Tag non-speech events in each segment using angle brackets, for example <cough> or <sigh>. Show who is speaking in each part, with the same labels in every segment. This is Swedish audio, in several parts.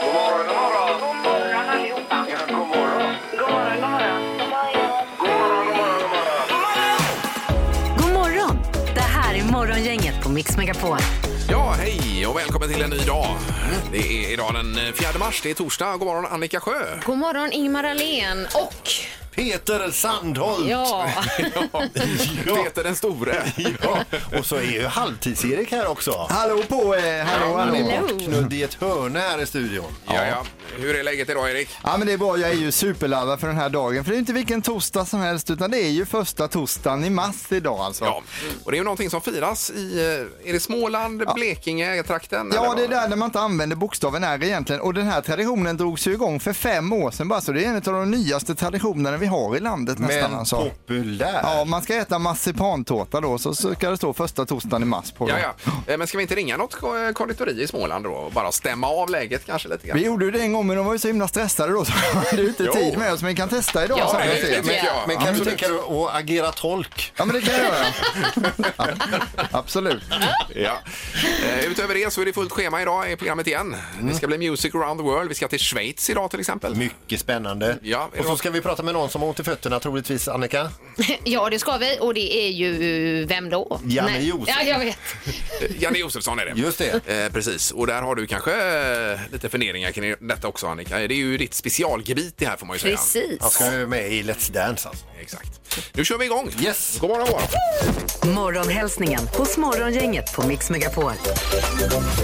Speaker 1: God morgon, god
Speaker 2: God
Speaker 1: morgon.
Speaker 2: morgon allihopa.
Speaker 1: Ja, god morgon.
Speaker 2: God morgon, god morgon.
Speaker 1: God morgon,
Speaker 3: God
Speaker 1: god morgon, god morgon.
Speaker 3: morgon! Det här är Morgongänget på Mix Megapol.
Speaker 4: Ja, hej och välkommen till en ny dag. Det är idag den 4 mars, det är torsdag. God morgon Annika Sjö.
Speaker 5: God morgon Ingmar Ahlén och
Speaker 6: Peter Sandholt!
Speaker 5: ja,
Speaker 4: <laughs> Peter den store.
Speaker 6: Ja, Och så är ju Halvtids-Erik här också.
Speaker 7: Hallå på er! Hallå,
Speaker 6: Han är
Speaker 7: hallå.
Speaker 6: bortknudd i ett hörne här i studion.
Speaker 4: Ja, ja. Hur är läget idag Erik?
Speaker 7: Ja men det är bra, jag är ju superladdad för den här dagen. För det är ju inte vilken torsdag som helst utan det är ju första torsdagen i mars idag alltså.
Speaker 4: Ja.
Speaker 7: Ja,
Speaker 4: Och det är ju någonting som firas i, eh, är det Småland, Blekinge, trakten? eller
Speaker 7: det är
Speaker 4: vad?
Speaker 7: där när man inte använder bokstaven R egentligen. Och den här traditionen drogs ju igång för fem år sedan bara så det är en av de nyaste traditionerna vi har i landet nästan
Speaker 6: Men
Speaker 7: alltså.
Speaker 6: populär.
Speaker 7: Ja, man ska äta marsipantårta då så så ska det stå första torsdagen i mars på
Speaker 4: Ja,
Speaker 7: den.
Speaker 4: ja. Eh, Men ska vi inte ringa något ko- konditori i Småland då och bara stämma av läget kanske lite
Speaker 7: Vi
Speaker 4: grann?
Speaker 7: gjorde ju det en gång men de var ju så himla stressade då så <laughs> de hade ju inte
Speaker 4: Jo.
Speaker 7: tid med oss men vi kan testa idag.
Speaker 5: Ja,
Speaker 7: så här
Speaker 5: det
Speaker 7: ser
Speaker 5: tycker
Speaker 7: jag.
Speaker 5: jag.
Speaker 6: Men kan du
Speaker 4: Absolut.
Speaker 6: tänka dig att agera tolk?
Speaker 7: Ja men det kan jag göra. Ja, Absolut.
Speaker 4: Ja. Eh, Utöver det så är det fullt schema idag i programmet igen. Det ska bli Music around the world. Vi ska till Schweiz idag till exempel.
Speaker 6: Mycket spännande.
Speaker 4: Ja, är det
Speaker 6: och så
Speaker 4: något-
Speaker 6: ska vi prata med någon som har ont i fötterna troligtvis, Annika.
Speaker 5: ja det ska vi och det är ju eh, vem då?
Speaker 6: Janne
Speaker 5: Nej.
Speaker 6: Josef.
Speaker 5: Ja, jag vet.
Speaker 4: Eh, Janne Josefsson är det.
Speaker 6: Just det.
Speaker 4: Eh, precis, och där har du kanske eh, lite funderingar kring detta också Annika. Det är ju ditt specialgebit det här får man ju säga.
Speaker 6: Han
Speaker 5: Precis.
Speaker 6: ska ju med i Let's Dance alltså.
Speaker 4: Exakt. Nu kör vi igång.
Speaker 6: Yes.
Speaker 4: God morgon, god morgon.
Speaker 3: <laughs> Morgonhälsningen hos Morgongänget på Mix Megapol.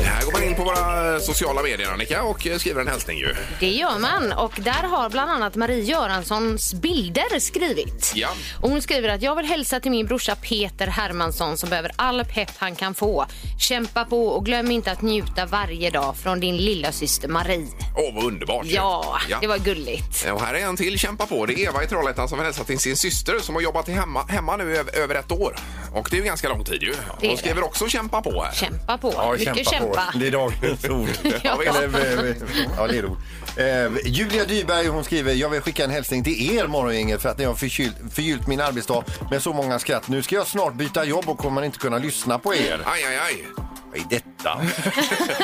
Speaker 4: Här går man in på våra eh, sociala medier Annika och eh, skriver en hälsning ju.
Speaker 5: Det gör man och där har bland annat Marie Göranssons bilder skrivit.
Speaker 4: Ja.
Speaker 5: Och hon skriver att jag vill hälsa till min brorsa Peter Hermansson som behöver all pepp han kan få. Kämpa på och glöm inte att njuta varje dag från din lilla syster Marie.
Speaker 4: Åh, vad underbart. ju.
Speaker 5: Ja,
Speaker 4: ja.
Speaker 5: det var gulligt.
Speaker 4: Eh, Och här är en till kämpa på. Det är Eva i Trollhättan som hälsar till sin syster som har jobbat i hemma, hemma nu över, över ett år. Och det är ju ganska lång tid ju.
Speaker 5: är
Speaker 4: Hon
Speaker 5: det.
Speaker 4: skriver också kämpa på här.
Speaker 5: Kämpa på. Mycket kämpa.
Speaker 6: på. Det är <laughs> dagens ord.
Speaker 5: Ja.
Speaker 6: Eller, eh, ja, det är roligt. Eh, Julia Dyberg hon skriver, jag vill skicka en hälsning till er morgongänget för att ni har förkylt, förgyllt min arbetsdag med så många skratt. Nu ska jag snart byta jobb och kommer inte kunna lyssna på er.
Speaker 4: Aj, aj, aj.
Speaker 6: Vad är detta?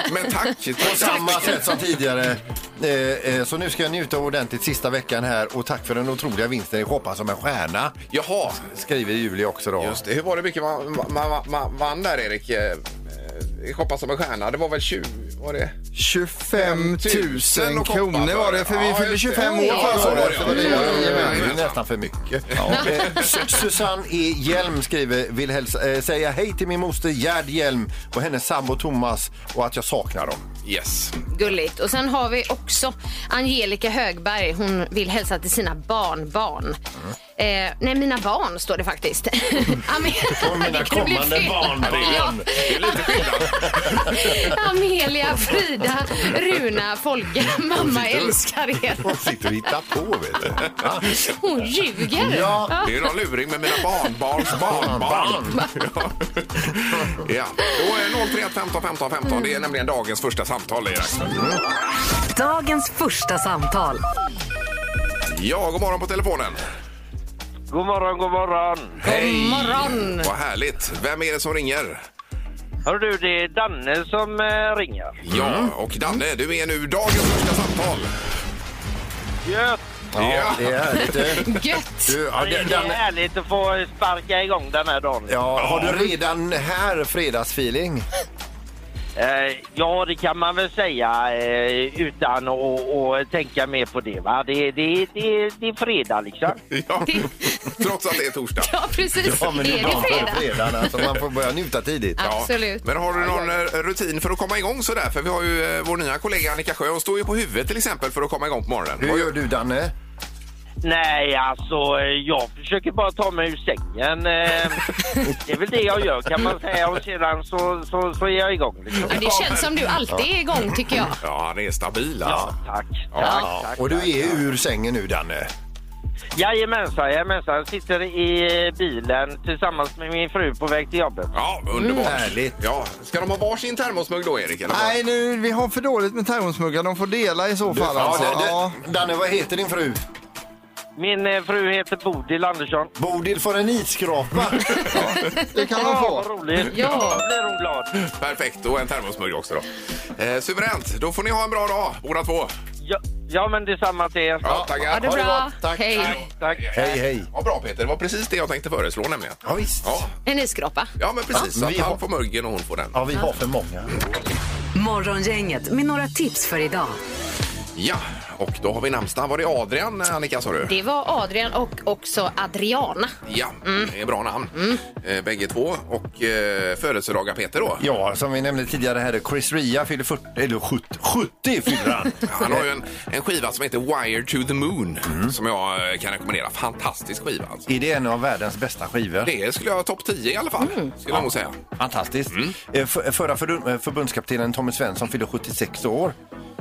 Speaker 4: <laughs> Men tack.
Speaker 6: På samma sätt som tidigare. Eh, eh, så nu ska jag njuta ordentligt sista veckan här och tack för den otroliga vinsten i Shoppa som en stjärna.
Speaker 4: Jaha,
Speaker 6: Skriver Julia också då.
Speaker 4: Just det. Hur var det mycket man, man, man, man vann där, Erik? Eh, eh, Shoppa som en stjärna. Det var väl 20? Var det?
Speaker 7: 25 000
Speaker 4: och koppar
Speaker 7: kronor var det, för vi
Speaker 4: Ja,
Speaker 7: fyllde
Speaker 4: just det.
Speaker 7: 25 år
Speaker 4: Ja, så
Speaker 7: förra
Speaker 4: var
Speaker 7: året.
Speaker 4: det,
Speaker 7: så
Speaker 4: ja.
Speaker 7: var det-
Speaker 4: Ja, ja, ja.
Speaker 6: Det är nästan för mycket. Eh, Su- Susanne E. Hjelm skriver, vill hälsa, eh, säga hej till min moster Gerd Hjelm och hennes sambo Thomas och att jag saknar dem.
Speaker 4: Yes.
Speaker 5: Gulligt. Och sen har vi också Angelica Högberg. Hon vill hälsa till sina barnbarn. Eh, nej, mina barn står det faktiskt. Amelia,
Speaker 6: Och
Speaker 5: <laughs>
Speaker 6: mina kommande barnbarn.
Speaker 4: Det är lite skillnad.
Speaker 5: <laughs> Amelia, Frida, Runa, Folke. Mamma älskar er.
Speaker 6: Hon sitter och hittar på, vet du.
Speaker 5: Hon ljuger.
Speaker 6: Ja.
Speaker 4: <laughs> Det är någon luring med mina barnbarns barnbarn. Ja. <laughs> ja. Då är 031 15 15 15. Det är nämligen dagens första samtal. Erik.
Speaker 3: Dagens första samtal.
Speaker 4: Ja, god morgon på telefonen.
Speaker 1: God morgon, god morgon.
Speaker 4: Hej!
Speaker 5: morgon.
Speaker 4: Vad härligt. Vem är det som ringer?
Speaker 1: Hör du, det är Danne som eh, ringer.
Speaker 4: Ja, och Danne, du är nu dagens första samtal.
Speaker 1: Gött!
Speaker 4: Ja.
Speaker 6: Ja, det är härligt. eh.
Speaker 5: Gött. <laughs>
Speaker 6: Du, ja,
Speaker 1: Det
Speaker 6: den,
Speaker 1: är
Speaker 6: den,
Speaker 1: härligt att få sparka igång den här dagen.
Speaker 6: ja, har du redan här fredagsfeeling?
Speaker 1: Eh, ja, det kan man väl säga eh, utan att att tänka mer på det. Va? Det, det, det, det är fredag liksom.
Speaker 4: Ja. Trots att det är torsdag.
Speaker 5: Ja, precis.
Speaker 6: Ja, men
Speaker 5: är
Speaker 6: bara
Speaker 5: det fredag?
Speaker 6: på fredagen, alltså, man får börja njuta tidigt.
Speaker 5: Ja. Absolut.
Speaker 4: Men har du någon eh, rutin för att komma igång så där? För vi har ju eh, vår nya kollega Annika Sjö, hon står ju på huvudet till exempel för att komma igång på morgonen.
Speaker 6: Hur gör du, Danne?
Speaker 1: Nej, alltså eh, jag försöker bara ta mig ur sängen. Eh, det är väl det jag gör kan man säga och sedan så, så, så är jag igång. Liksom.
Speaker 5: Ja, det känns som du alltid är igång, tycker jag.
Speaker 4: Ja, han är stabil
Speaker 1: Ja,
Speaker 4: alltså.
Speaker 1: tack.
Speaker 4: Ja.
Speaker 1: tack, tack.
Speaker 6: Och du är ur sängen nu, Danne.
Speaker 1: Jajamensan, jajamensan. Jag sitter i bilen tillsammans med min fru på väg till jobbet.
Speaker 4: Ja, underbart.
Speaker 6: Mm, härligt.
Speaker 4: Ja. Ska de ha varsin termosmugg då, Erik? Eller vad?
Speaker 7: Nej, nu, vi har för dåligt med termosmuggar. De får dela i så fall.
Speaker 6: Ja,
Speaker 7: Alltså.
Speaker 6: det,
Speaker 7: Ja,
Speaker 6: det, Danne, vad heter din fru?
Speaker 1: Min eh, fru heter Bodil Andersson.
Speaker 6: Bodil får en isskrapa.
Speaker 7: Det kan man
Speaker 1: vad
Speaker 7: få.
Speaker 1: roligt.
Speaker 5: Ja.
Speaker 1: Då blir hon glad.
Speaker 4: Perfekt, och en termosmugg också då. Eh, suveränt, då får ni ha en bra dag båda två.
Speaker 1: Ja, ja men detsamma till er.
Speaker 4: Ja,
Speaker 5: Ha
Speaker 4: tackar.
Speaker 5: det bra.
Speaker 6: Tack.
Speaker 5: Hej.
Speaker 1: Tack.
Speaker 6: <laughs> hej, hej.
Speaker 4: Ja, bra Peter, det var precis det jag tänkte föreslå nämligen.
Speaker 6: Ja, visst.
Speaker 4: Ja,
Speaker 5: En isskrapa.
Speaker 4: ja men precis.
Speaker 6: Va?
Speaker 4: Att
Speaker 6: Vi har-
Speaker 4: han får muggen och hon får den.
Speaker 6: Ja, vi har för många.
Speaker 3: Morgongänget med några tips för idag.
Speaker 4: Ja, och då har vi namnsdag. Var det Adrian, eh, Annika, sa du?
Speaker 5: Det var Adrian och också Adriana.
Speaker 4: Ja,
Speaker 6: Mm.
Speaker 4: det är bra namn. Eh, bägge två. Och eh, födelsedagar Peter då.
Speaker 6: Ja, som vi nämnde tidigare här, Chris Ria fyller 40, eller 70, 70 fyller <laughs> han.
Speaker 4: Han har ju en, en skiva som heter Wire to the Moon
Speaker 6: Mm.
Speaker 4: som jag eh, kan rekommendera. Fantastisk skiva alltså.
Speaker 6: Är det en av världens bästa skivor?
Speaker 4: Det skulle jag ha topp 10 i alla fall,
Speaker 6: Mm.
Speaker 4: skulle jag nog säga.
Speaker 6: Fantastiskt. Eh, för- Förra fördun- eh, förbundskaptenen Tommy Svensson fyllde 76 år.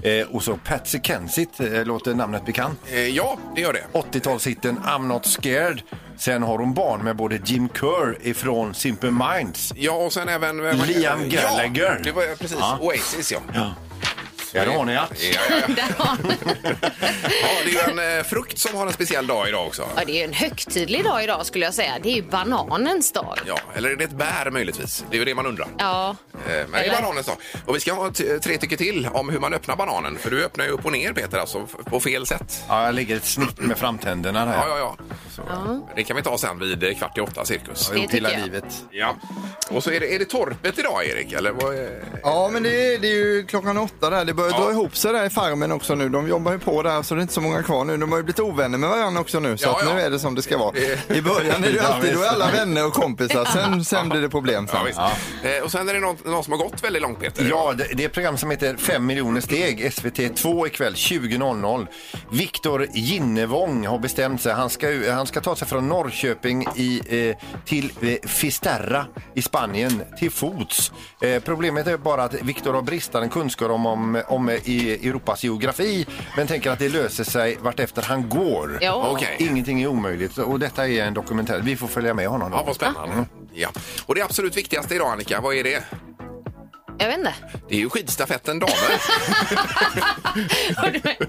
Speaker 6: Eh, och så Patsy Kensit, eh, låter namnet bekant.
Speaker 4: Eh, ja, det gör det.
Speaker 6: 80-talshitten I'm Not Scared. Sen har hon barn med både Jim Kerr ifrån Simple Minds.
Speaker 4: Ja, och sen även... eh,
Speaker 6: Liam Gallagher.
Speaker 4: Ja, det var precis.
Speaker 6: Ja.
Speaker 4: Oasis, ja.
Speaker 6: Ja. Ja, det har ni ja.
Speaker 4: Ja, ja,
Speaker 6: <laughs>
Speaker 4: ja. ja, det är ju en eh, frukt som har en speciell dag idag också.
Speaker 5: Ja, det är ju en högtidlig dag idag skulle jag säga. Det är ju bananens dag.
Speaker 4: Ja, eller är det ett bär möjligtvis? Det är ju det man undrar.
Speaker 5: Ja.
Speaker 4: Eh, Men det är
Speaker 5: Eller?
Speaker 4: bananens dag. Och vi ska ha t- tre tycker till om hur man öppnar bananen. För du öppnar ju upp och ner Peter, alltså f- på fel sätt.
Speaker 6: Ja, jag lägger ett snitt med framtänderna där.
Speaker 4: Ja, ja, ja. Det kan vi ta sen vid eh, kvart i åtta cirkus.
Speaker 6: Jag har gjort
Speaker 5: Det tycker
Speaker 6: hela
Speaker 5: jag.
Speaker 6: livet.
Speaker 4: Ja. Och så är det, är det torpet idag Erik, eller vad är...
Speaker 7: Ja, men det är, det är ju klockan åtta där. Det börjar
Speaker 4: Ja.
Speaker 7: dra ihop sig där i farmen också nu. De jobbar ju på där så det är inte så många kvar nu. De har ju blivit ovänner med varandra också nu så
Speaker 4: Ja,
Speaker 7: att
Speaker 4: ja.
Speaker 7: nu är det som det ska vara.
Speaker 4: Det-
Speaker 7: I början är det ju
Speaker 6: Ja,
Speaker 7: alltid,
Speaker 6: visst.
Speaker 7: då är alla vänner och kompisar. Sen, sen blir det problem sen.
Speaker 4: Ja, visst. Eh, Och sen är det någon, någon som har gått väldigt långt Peter.
Speaker 6: Ja, det, det är ett program som heter 5 miljoner steg, SVT 2 ikväll 20.00. Viktor Ginnevång har bestämt sig. Han ska, ju- han ska ta sig från Norrköping i, eh, till eh, Fisterra i Spanien till fots. Eh, problemet är bara att Viktor har bristande kunskap om, om, om eh, i Europas geografi men tänker att det löser sig vartefter han går.
Speaker 5: Ja.
Speaker 4: Okej.
Speaker 6: Ingenting är omöjligt och detta är en dokumentär. Vi får följa med honom. Då.
Speaker 4: Ja, vad spännande.
Speaker 6: Ah.
Speaker 4: Ja. Och det absolut viktigaste idag Annika, vad är det?
Speaker 5: Jag vet inte. <laughs>
Speaker 4: Det är ju skidstafetten damer.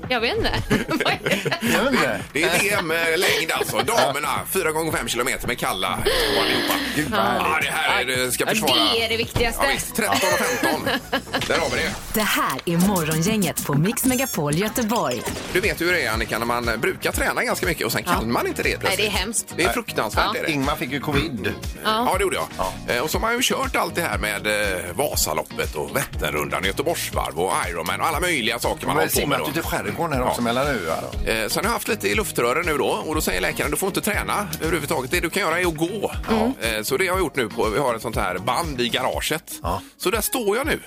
Speaker 5: Jag vet inte. Vad är det?
Speaker 6: Jag vet inte.
Speaker 4: Det är VM-längd alltså. Damerna, 4 gånger 5 kilometer med kalla och allihopa.
Speaker 6: Gud, vad härligt.
Speaker 4: Ja, det här är det ska
Speaker 5: Ja,
Speaker 4: försvara.
Speaker 5: det är det viktigaste.
Speaker 4: Ja, visst, 13 och 15. Där har vi det.
Speaker 3: Det här är Morgongänget på Mix Megapol Göteborg.
Speaker 4: Du vet ju hur det är Annika, när man brukar träna ganska mycket och sen kan man inte det plötsligt.
Speaker 5: Nej, det är hemskt.
Speaker 4: Det är fruktansvärt.
Speaker 5: Ja.
Speaker 4: Är det.
Speaker 6: Ingmar fick ju covid.
Speaker 4: Ja, det gjorde jag. Eh, Och så har man ju kört allt det här med eh, Vasaloppet och Vätternrundan, Göteborgsvarv och Ironman och alla möjliga saker man har
Speaker 6: Men
Speaker 4: hållit på med.
Speaker 6: simmat
Speaker 4: då.
Speaker 6: ut i skärgården här också mellan öar.
Speaker 4: Eh, Sen har jag haft lite i luftrören nu då och då säger läkaren du får inte träna överhuvudtaget. Det du kan göra är att gå.
Speaker 6: Mm.
Speaker 4: Eh, Så det har jag gjort nu på, vi har ett sånt här band i garaget.
Speaker 6: Ja.
Speaker 4: Så där står jag
Speaker 6: <laughs>
Speaker 4: nu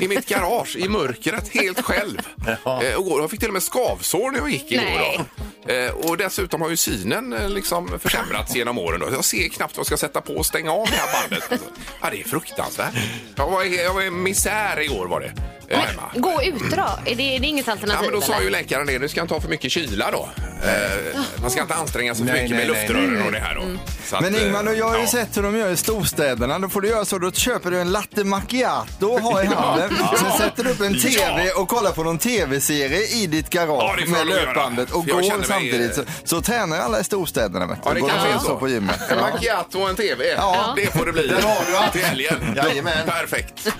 Speaker 4: i mitt garage i mörkret helt själv.
Speaker 6: Ja.
Speaker 4: Eh, Och går. Jag fick till och med skavsår när jag gick igår.
Speaker 5: Nej.
Speaker 4: Då. Eh, Och dessutom har ju synen eh, liksom försämrats genom åren. Då. Jag ser knappt vad jag ska sätta på och stänga av det här bandet.
Speaker 6: <laughs>
Speaker 4: Alltså, Ja, det är fruktansvärt. Jag var, i- jag var i misär igår var det. eh, hemma.
Speaker 5: Gå ut då. Är det, är det inget
Speaker 4: Ja,
Speaker 5: alternativ?
Speaker 4: men då sa
Speaker 5: eller?
Speaker 4: ju läkaren det. Nu ska han ta för mycket kyla då. Eh, man ska inte anstränga sig för
Speaker 6: Nej,
Speaker 4: mycket
Speaker 6: nej,
Speaker 4: med
Speaker 6: nej,
Speaker 4: luftrören
Speaker 6: nej, nej.
Speaker 4: och det här då. Så
Speaker 7: Men
Speaker 4: att, eh,
Speaker 7: Ingmar, jag har ju
Speaker 4: ja.
Speaker 7: sett hur de gör i storstäderna. Då får du göra så, då köper du en latte macchiato
Speaker 4: <laughs>
Speaker 7: och har i handen. Sen sätter du upp en TV och kollar på någon TV-serie i ditt
Speaker 4: Ja,
Speaker 7: garage
Speaker 4: det får
Speaker 7: med
Speaker 4: jag nog göra.
Speaker 7: löpbandet och
Speaker 4: För jag känner mig,
Speaker 7: går samtidigt. Så,
Speaker 4: eh,
Speaker 7: så tränar ju alla i storstäderna. Vet du.
Speaker 4: Ja, det
Speaker 7: går
Speaker 4: kanske
Speaker 7: de
Speaker 4: är
Speaker 7: och
Speaker 4: så.
Speaker 7: på gymmet.
Speaker 4: En
Speaker 7: Ja.
Speaker 4: macchiato och en TV.
Speaker 7: Ja.
Speaker 4: Det får det bli.
Speaker 7: Där har du allt.
Speaker 4: Till helgen.
Speaker 6: Jajamän.
Speaker 4: Perfekt.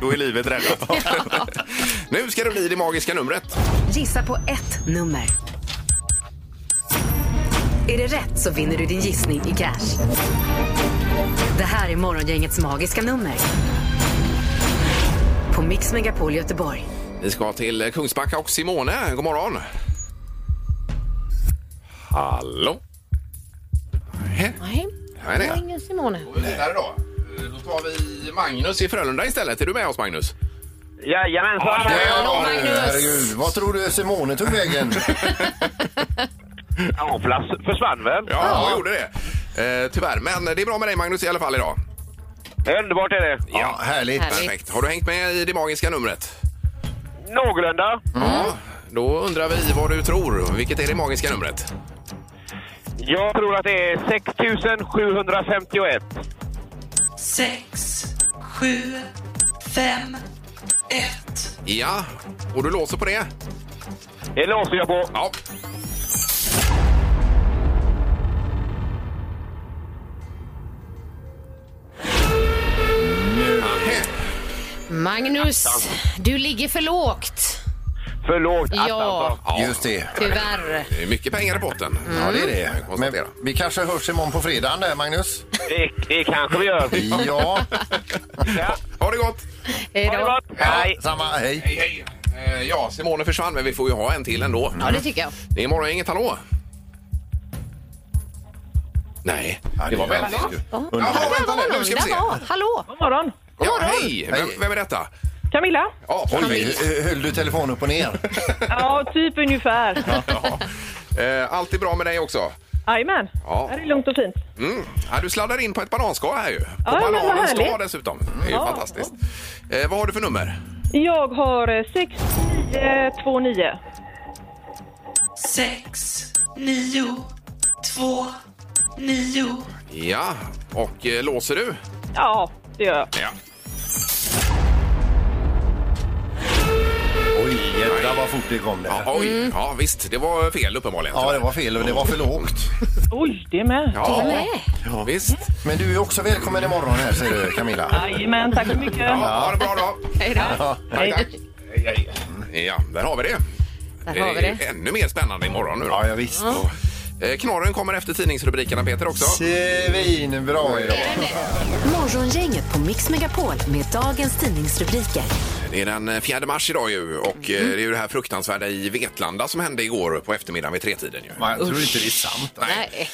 Speaker 4: Då är livet räddat. nu ska det bli det magiska numret.
Speaker 3: Gissa på ett nummer. Är det rätt så vinner du din gissning i cash. Det här är Morgongängets magiska nummer. På Mix Megapol Göteborg.
Speaker 4: Vi ska till Kungsbacka och Simone. God morgon. Hallå? Nej,
Speaker 5: Nej,
Speaker 4: här är
Speaker 5: det var
Speaker 4: det.
Speaker 5: ingen Simone.
Speaker 4: Går vi vidare då. Eh, Då tar vi Magnus i Frölunda istället. Är du med oss Magnus?
Speaker 1: Jajamensan!
Speaker 5: Hallå, Magnus.
Speaker 4: Eh,
Speaker 6: Herregud, vad tror du Simone tog
Speaker 4: <laughs>
Speaker 6: vägen?
Speaker 1: Ja, plats försvann väl?
Speaker 4: Ja, jag gjorde det. Eh, tyvärr, men det är bra med dig Magnus i alla fall idag.
Speaker 1: Underbart är det.
Speaker 6: Ja, härligt.
Speaker 5: Härligt.
Speaker 4: Perfekt. Har du hängt med i det magiska numret?
Speaker 1: Någorlunda.
Speaker 4: Ja. Då undrar vi vad du tror. Vilket är det magiska numret?
Speaker 1: Jag tror att det är 6751.
Speaker 8: sex, sju, fem, ett.
Speaker 4: Ja, och du låser på det?
Speaker 1: Det låser jag på.
Speaker 4: Ja.
Speaker 5: Magnus, du ligger för lågt.
Speaker 1: För lågt.
Speaker 5: Ja.
Speaker 1: attans.
Speaker 6: Just det.
Speaker 5: Tyvärr.
Speaker 4: Det Mm. är mycket pengar i botten.
Speaker 6: Ja, det är det. Men
Speaker 4: Konstatera.
Speaker 6: vi kanske hörs imorgon på fredagen, där, Magnus.
Speaker 1: Det, det kanske vi gör.
Speaker 4: <laughs>
Speaker 6: Ja,
Speaker 1: Ja.
Speaker 4: Ha det gott!
Speaker 5: Hej
Speaker 1: Ha det
Speaker 5: då.
Speaker 1: gott.
Speaker 6: ja
Speaker 1: Hej.
Speaker 6: samma. Hej.
Speaker 4: Hej, hej! Eh, Ja, Simone försvann, men vi får ju ha en till ändå.
Speaker 5: Ja, det tycker jag.
Speaker 4: Det är imorgon, inget hallå? Nej, det var väldigt... Jaha, vänta nu, nu ska vi se.
Speaker 5: Där var. Hallå!
Speaker 9: God morgon.
Speaker 4: Ja, hej! Vem, vem är detta?
Speaker 9: Camilla?
Speaker 4: Ja, <laughs>
Speaker 6: Oj, eh, höll du telefonen upp och ner?
Speaker 9: Ja, typ ungefär.
Speaker 4: Eh, Allt är bra med dig också?
Speaker 9: Jajamän.
Speaker 4: Ja.
Speaker 9: Här är det långt och fint.
Speaker 4: Mm. Ja, du sladdar in på ett bananskal här ju. På
Speaker 9: Ja, men vad
Speaker 4: bananens dag
Speaker 9: härligt.
Speaker 4: dessutom. Det är ju
Speaker 9: Ja.
Speaker 4: fantastiskt. Eh, vad har du för nummer?
Speaker 9: Jag har eh, 6929.
Speaker 8: 6, 9, 2, 9.
Speaker 4: Ja, och eh, låser du?
Speaker 9: Ja, det gör jag.
Speaker 4: Ja.
Speaker 6: Oj, jädrar vad fort det kom där.
Speaker 4: Oj, ja visst. Det var fel uppenbarligen.
Speaker 6: Ja, det var fel och det var för lågt.
Speaker 9: Oj, det med.
Speaker 4: Ja,
Speaker 5: Nej.
Speaker 4: ja, visst.
Speaker 6: Men du är också välkommen imorgon här, säger du, Camilla.
Speaker 9: Jajamän, tack så mycket.
Speaker 4: Ja, ha det bra då.
Speaker 5: Hej då.
Speaker 4: Tack, tack. Hej, hej. Ja, där har vi det.
Speaker 5: Där har vi
Speaker 4: är
Speaker 5: det.
Speaker 4: ju Ännu mer spännande imorgon nu då.
Speaker 6: Ja, ja visst.
Speaker 4: Eh, Knorren kommer efter tidningsrubrikerna Peter också.
Speaker 6: Svinbra idag.
Speaker 3: Morgongänget på Mix Megapol med dagens tidningsrubriker.
Speaker 4: Det är den eh, 4 mars idag ju och eh, det är ju det här fruktansvärda i Vetlanda som hände igår på eftermiddagen vid tretiden ju.
Speaker 6: Man tror inte det är sant.
Speaker 5: Nej.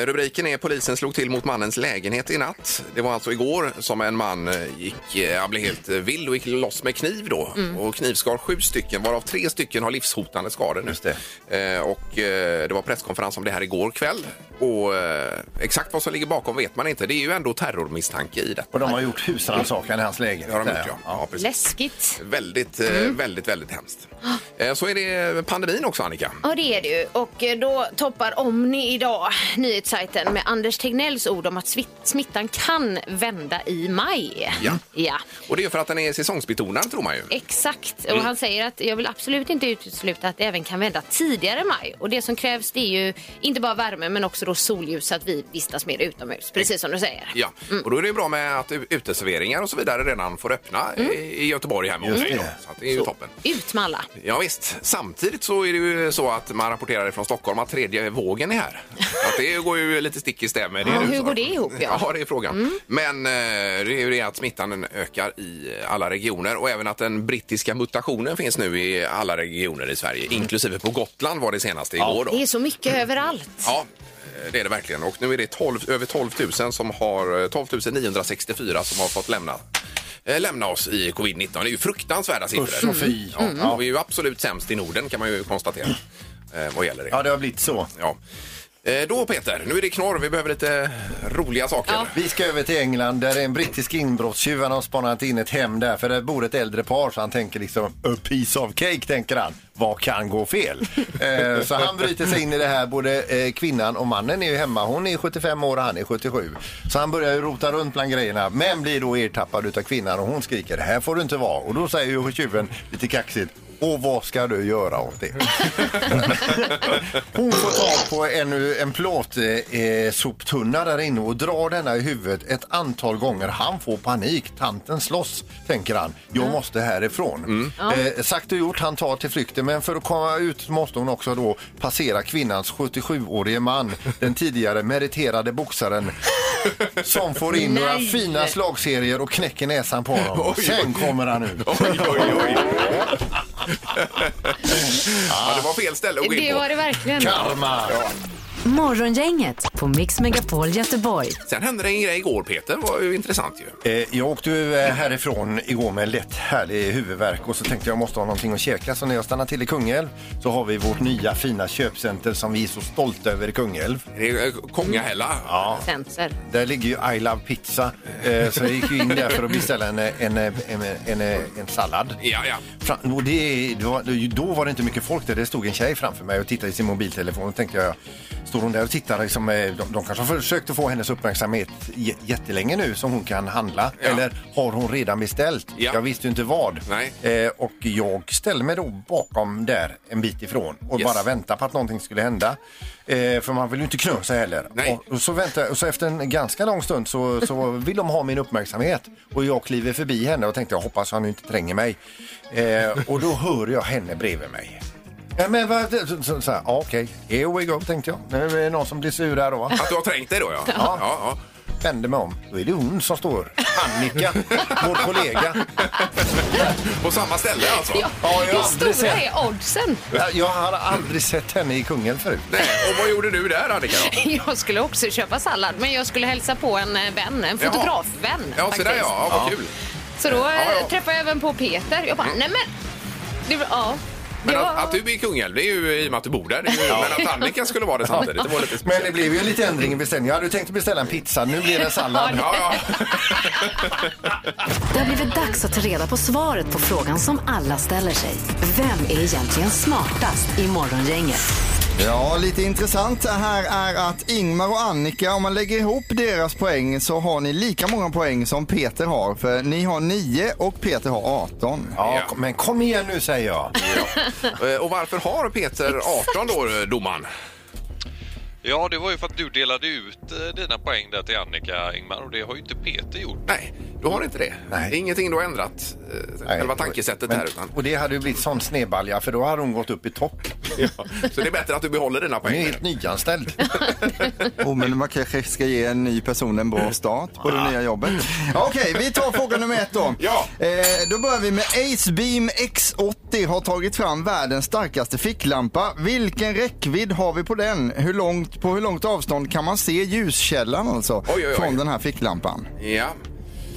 Speaker 4: Eh, Rubriken är Polisen slog till mot mannens lägenhet i natt. Det var alltså igår som en man eh, gick, eh, han blev helt eh, vill och gick loss med kniv då.
Speaker 6: Mm.
Speaker 4: Och knivskar sju stycken, varav tre stycken har livshotande skador nu.
Speaker 6: Just det.
Speaker 4: Eh, Och eh, det var presskonferens om det här igår kväll. Och eh, exakt vad som ligger bakom vet man inte. Det är ju ändå terrormisstanke i detta.
Speaker 6: Och de har gjort husrannsakan i hans lägenhet.
Speaker 4: Det har de
Speaker 6: där,
Speaker 4: gjort, ja. ja precis.
Speaker 5: Läskigt.
Speaker 4: Väldigt, eh,
Speaker 6: Mm.
Speaker 4: väldigt, väldigt hemskt. Eh, Så är det pandemin också, Annika.
Speaker 5: Ja, det är det ju. Och eh, då toppar Omni idag nyhetssajten med Anders Tegnells ord om att smitt- smittan kan vända i maj.
Speaker 4: Ja.
Speaker 5: ja.
Speaker 4: Och det är ju för att den är säsongsbetonad, tror man ju.
Speaker 5: Exakt.
Speaker 4: Mm.
Speaker 5: Och han säger att jag vill absolut inte utesluta att det även kan vända tidigare maj. Och det som krävs det är ju inte bara värme men också då solljus så att vi vistas mer utomhus. Precis som du säger.
Speaker 4: Ja, och då är det ju bra med att u- uteserveringar och så vidare redan får öppna
Speaker 5: Mm.
Speaker 4: i- i Göteborg här mot
Speaker 6: Just
Speaker 4: mig. då.
Speaker 6: det.
Speaker 4: Så att det är ju toppen.
Speaker 5: Ut med alla.
Speaker 4: Ja, visst. Samtidigt så är det ju så att man rapporterar från Stockholm att tredje vågen är
Speaker 5: <laughs>
Speaker 4: här. Så Att det går ju lite stick i stäv med det
Speaker 5: Ja,
Speaker 4: du
Speaker 5: hur
Speaker 4: sa.
Speaker 5: går det ihop, ja?
Speaker 4: <laughs>
Speaker 5: Mm.
Speaker 4: Ja, det är frågan. Men eh, det är ju det att smittan ökar i alla regioner och även att den brittiska mutationen finns nu i alla regioner i Sverige, inklusive på Gotland var det senaste igår. Då.
Speaker 5: Mm. Det är så mycket
Speaker 4: Mm.
Speaker 5: överallt.
Speaker 4: Ja, det är det verkligen. Och nu är det 12, över 12 000 som har, 12 964 som har fått lämna, eh, lämna oss i covid-19. Det är ju fruktansvärda
Speaker 6: Usch och
Speaker 4: siffror. Mm.
Speaker 6: fy.
Speaker 4: Ja, Vi är ju absolut sämst i Norden kan man ju konstatera eh, vad gäller det.
Speaker 6: Ja, det har blivit så.
Speaker 4: Ja. Eh, då Peter, nu är det knorr. Vi behöver lite roliga saker. Ja.
Speaker 6: Vi ska över till England där en brittisk inbrottstjuv han har spanat in ett hem där för där bor ett äldre par så han tänker liksom a piece of cake tänker han. Vad kan gå fel? eh, så han bryter sig in i det här både eh, kvinnan och mannen är ju hemma. Hon är 75 år och han är 77. Så han börjar ju rota runt bland grejerna men blir då ertappad utav kvinnan och hon skriker här får du inte vara och då säger ju tjuven lite kaxigt och vad ska du göra åt det? Hon får tag på en, en plåtsoptunna eh, soptunna där inne och drar denna i huvudet ett antal gånger. Han får panik. Tanten slåss, tänker han. Jag måste härifrån. Eh, sagt och gjort, han tar till flykten. Men för att komma ut måste hon också då passera kvinnans 77-årige man, den tidigare meriterade boxaren som får in några
Speaker 5: Nej.
Speaker 6: fina slagserier och knäcker näsan på honom. Sen kommer han ut.
Speaker 4: <laughs> Oj, oj, oj. <laughs> ja, det var fel ställe att gå in
Speaker 5: Det
Speaker 4: på.
Speaker 5: var det verkligen.
Speaker 6: Karma!
Speaker 3: Morgongänget på Mix Megapol Göteborg.
Speaker 4: Sen hände det en grej igår Peter. Det var ju intressant ju.
Speaker 6: Eh, Jag åkte ju eh, härifrån igår med en lätt härlig huvudvärk och så tänkte jag måste ha någonting att käka så när jag stannar till i Kungälv så har vi vårt nya fina köpcenter som vi är så stolta över i Kungälv.
Speaker 4: Det är eh, Kongahälla.
Speaker 5: Center.
Speaker 6: Där ligger ju I Love Pizza eh, så jag gick ju in där för att beställa en, eh, en, eh, en, eh, en, eh, en sallad.
Speaker 4: Ja, ja.
Speaker 6: Fra- Och det, det var, då var det inte mycket folk där. Det stod en tjej framför mig och tittade i sin mobiltelefon. Och tänkte jag, står hon där och tittar. Liksom, eh, de, de kanske har försökt att få hennes uppmärksamhet j- jättelänge nu som hon kan handla.
Speaker 4: Ja.
Speaker 6: Eller har hon redan beställt?
Speaker 4: Ja.
Speaker 6: Jag visste ju inte vad.
Speaker 4: Nej.
Speaker 6: Eh, och jag ställde mig då bakom där en bit ifrån och
Speaker 4: Yes.
Speaker 6: bara väntade på att någonting skulle hända. Eh, för man vill ju inte knösa heller.
Speaker 4: Nej.
Speaker 6: Och, och, så väntade, jag- och så efter en ganska lång stund så, så vill de ha min uppmärksamhet. Och jag kliver förbi henne och tänkte jag hoppas han inte tränger mig. Eh, och då hör jag henne bredvid mig. Ja, men vad, så, så, så här, ja, okej, here we go tänkte jag. Nu är det någon som blir sur här då. va?
Speaker 4: Att du har trängt dig då, ja.
Speaker 6: Ja.
Speaker 4: ja,
Speaker 6: Vänder mig om, då är det hon som står. Annika, vår kollega.
Speaker 4: ja. På samma ställe alltså?
Speaker 6: Ja, jag har
Speaker 5: Hur
Speaker 6: aldrig
Speaker 5: stora
Speaker 6: sett,
Speaker 5: är oddsen?
Speaker 6: jag har aldrig sett henne i Kungälv förut.
Speaker 4: Nej. Och vad gjorde du där, Annika?
Speaker 6: <laughs>
Speaker 4: Då?
Speaker 5: <laughs> Jag skulle också köpa sallad, men jag skulle hälsa på en eh, vän, en
Speaker 4: Jaha.
Speaker 5: fotografvän.
Speaker 4: Ja, så
Speaker 5: faktiskt.
Speaker 4: där ja. ja vad kul.
Speaker 5: Så då eh,
Speaker 4: Ja, ja.
Speaker 5: träffade jag även på Peter. Jag bara, nej men! Det, ja.
Speaker 4: Men
Speaker 5: Det
Speaker 4: att,
Speaker 5: var-
Speaker 4: att du är i Kungälv, det är ju i och med att du bor där. Det är ju, Men att Annika skulle vara det samtidigt, det var lite
Speaker 6: Men
Speaker 4: speciellt.
Speaker 6: det blev ju en liten ändring i beställningen. Jag hade ju tänkt beställa en pizza, nu blir det sallad.
Speaker 4: Ja, ja.
Speaker 3: Det har blivit dags att ta reda på svaret på frågan som alla ställer sig. Vem är egentligen smartast i Morgongänget?
Speaker 7: Ja, lite intressant här är att Ingmar och Annika, om man lägger ihop deras poäng så har ni lika många poäng som Peter har. För ni har 9 och Peter har 18.
Speaker 6: Ja,
Speaker 4: Ja.
Speaker 6: kom- men kom igen nu säger jag.
Speaker 4: Eh, Och varför har Peter 18 då, eh, domaren?
Speaker 10: Ja, det var ju för att du delade ut eh, dina poäng där till Annika Ingmar och det har ju inte Peter gjort.
Speaker 4: Nej, du har inte det.
Speaker 6: Nej.
Speaker 4: Det är Ingenting du har ändrat, eh,
Speaker 6: Nej.
Speaker 4: själva tankesättet
Speaker 6: Men-
Speaker 4: här. Utan,
Speaker 6: Och det hade ju blivit sån snedbalja för då hade hon gått upp i topp.
Speaker 4: ja. Så det är bättre att du behåller dina
Speaker 6: Hon är
Speaker 4: poäng.
Speaker 6: helt nyanställd.
Speaker 7: Oh, men man kanske ska ge en ny person en bra start på det nya jobbet. Ja, Okej, vi tar fråga nummer ett då.
Speaker 4: Ja.
Speaker 7: Eh, då börjar vi med Ace Beam X80 har tagit fram världens starkaste ficklampa. Vilken räckvidd har vi på den? Hur långt, på hur långt avstånd kan man se ljuskällan alltså
Speaker 4: oj, oj.
Speaker 7: från den här ficklampan?
Speaker 4: Ja.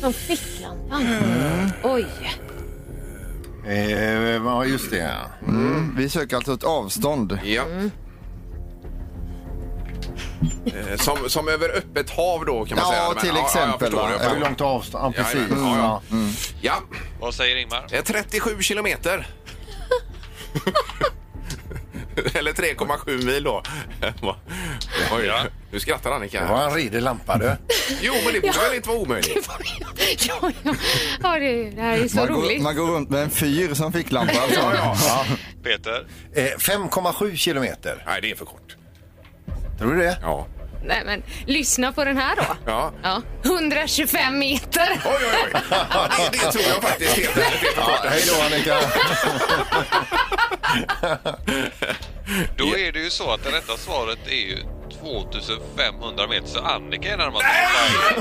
Speaker 5: Från ficklampan. Oj.
Speaker 6: <laughs> eh, ja, just det. ja.
Speaker 7: Mm. Vi söker alltså ett avstånd.
Speaker 4: ja.
Speaker 6: Mm.
Speaker 4: Eh, Som, som över öppet hav då kan man
Speaker 7: Ja,
Speaker 4: säga. Men,
Speaker 7: till exempel,
Speaker 4: Ja, jag
Speaker 7: va?
Speaker 4: förstår, jag
Speaker 6: Hur
Speaker 4: förstår.
Speaker 6: långt avstånd? Ja, precis.
Speaker 4: Jajamän, ja,
Speaker 6: Ja.
Speaker 4: Ja,
Speaker 10: Vad säger Ingmar?
Speaker 4: Eh, 37 kilometer. Eller 3,7 mil då. Oj,
Speaker 10: Ja.
Speaker 4: nu skrattar
Speaker 6: Det var
Speaker 4: Annika.
Speaker 6: en redig lampa du.
Speaker 4: Jo, men det borde väl inte vara omöjligt?
Speaker 5: <laughs> Ja, ja. ja det, det här är så
Speaker 7: Man
Speaker 5: roligt.
Speaker 7: går, man går runt med en fyr som ficklampa. Alltså.
Speaker 6: Ja.
Speaker 10: Peter?
Speaker 6: Eh, 5,7 kilometer.
Speaker 4: Nej, det är för kort.
Speaker 6: Tror du det?
Speaker 4: Ja.
Speaker 5: Nej, men, lyssna på den här då.
Speaker 4: Ja.
Speaker 5: Ja. 125 meter.
Speaker 4: Oj, oj, oj. Det, det tror jag faktiskt helt ärligt är för
Speaker 6: Ja,
Speaker 4: kort.
Speaker 6: hej då Annika.
Speaker 10: Då är det ju så att det rätta svaret är ju 2500 meter, så Annika är närmast.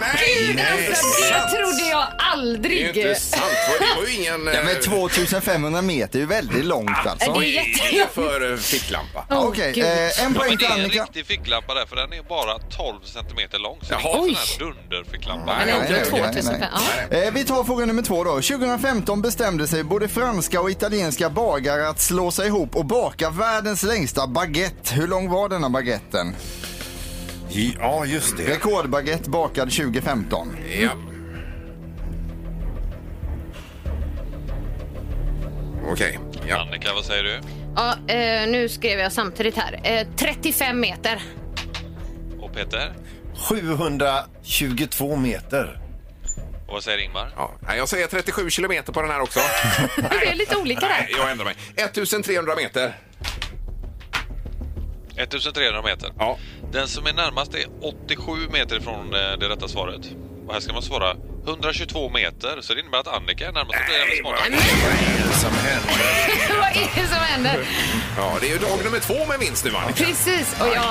Speaker 4: Nej, nej.
Speaker 5: Alltså, det trodde jag
Speaker 4: Det är
Speaker 5: aldrig.
Speaker 4: ju inte sant. Det var ju ingen... eh,
Speaker 7: Ja, men 2500 meter är ju väldigt långt alltså.
Speaker 5: Ja, det är jättelångt.
Speaker 4: för eh, ficklampa.
Speaker 5: Åh,
Speaker 7: Okej,
Speaker 5: Gud.
Speaker 7: eh, en
Speaker 10: Ja,
Speaker 7: poäng
Speaker 10: men det
Speaker 7: till
Speaker 10: är en
Speaker 7: Annika.
Speaker 10: riktig ficklampa där, för den är bara 12 centimeter lång. Så det är
Speaker 4: Jaha.
Speaker 10: inte en sån här dunderficklampa.
Speaker 5: Men ändå
Speaker 7: nej, nej,
Speaker 5: 2000.
Speaker 7: nej.
Speaker 5: Ja.
Speaker 7: Eh, Vi tar fråga nummer två då. 2015 bestämde sig både franska och italienska bagare att slå sig ihop och baka världens längsta baguette. Hur lång var denna baguetten?
Speaker 6: Ja, just det.
Speaker 7: Rekordbaguette bakad 2015.
Speaker 4: Ja. Okej. Ja.
Speaker 10: Annika, vad säger du?
Speaker 5: Ja, eh, nu skrev jag samtidigt här. Eh, 35 meter.
Speaker 10: Och Peter?
Speaker 6: 722 meter.
Speaker 10: Och vad säger Ingmar?
Speaker 4: Ja. Nej, Jag säger 37 kilometer på den här också.
Speaker 5: Det är lite olika
Speaker 4: Nej,
Speaker 5: där.
Speaker 4: jag ändrar mig. 1300 meter.
Speaker 10: 1300 meter.
Speaker 4: Ja.
Speaker 10: Den som är närmast är 87 meter ifrån eh, det rätta svaret. Och här ska man svara 122 meter, så det innebär att Annika är närmast. Det är jävligt smart.
Speaker 5: Vad är det som händer?
Speaker 4: Ja, det är ju dag nummer två med vinst nu, Annika.
Speaker 5: Precis. Och jag,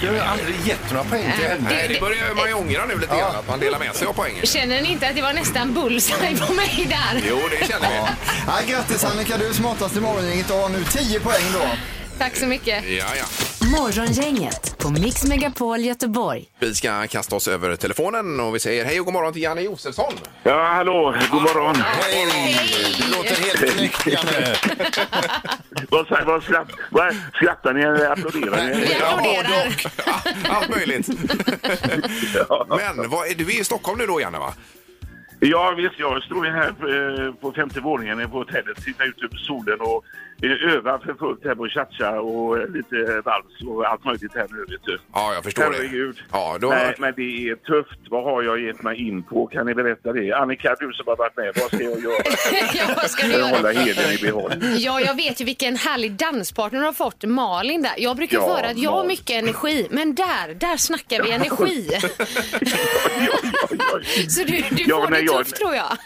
Speaker 6: Du har ju aldrig gett några poäng till henne.
Speaker 4: Nej, det börjar man ju ångra nu lite grann, att man delar med sig av poängen.
Speaker 5: känner ni inte att det var nästan bullseye på mig där?
Speaker 4: Jo, det känner vi.
Speaker 7: Ja, grattis Annika, du är smartast i morgongänget och har nu 10 poäng då.
Speaker 5: Tack så mycket.
Speaker 4: Ja, ja.
Speaker 3: Morgongänget på Mix Megapol Göteborg.
Speaker 4: Vi ska kasta oss över telefonen och vi säger hej och god morgon till Janne Josefsson.
Speaker 1: Ja, hallå, god morgon.
Speaker 6: Hej! Du låter helt knäckt, Janne.
Speaker 1: Vad, sa- vad, skratt, vad skrattar ni eller applåderar ni?
Speaker 5: Vi applåderar.
Speaker 4: <laughs> Allt möjligt. Men vad, är- du är i Stockholm nu då, Janne, va?
Speaker 11: Ja, visst. Jag står ju här eh, på femte våningen på hotellet, tittar ut över solen och eh, övar för fullt här på cha-cha och eh, lite vals och allt möjligt här nu, vet du.
Speaker 4: Ja, jag förstår det.
Speaker 11: Herregud.
Speaker 4: Ja, då-
Speaker 11: Nej, men det är tufft. Vad har jag gett mig in på? Kan ni berätta det? Annika, du som har varit med, vad ska jag göra
Speaker 5: <laughs> ja, vad ska du
Speaker 11: för att
Speaker 5: göra?
Speaker 11: hålla hedern
Speaker 4: <laughs>
Speaker 11: i behåll?
Speaker 5: Ja, jag vet ju vilken härlig danspartner du har fått, Malin där. Jag brukar
Speaker 11: Ja,
Speaker 5: få höra att jag har
Speaker 11: Malin.
Speaker 5: mycket energi, men där, där snackar vi energi. Så du, du
Speaker 11: Ja,
Speaker 5: får
Speaker 11: nej,
Speaker 5: det
Speaker 11: jag-
Speaker 5: tufft tror jag.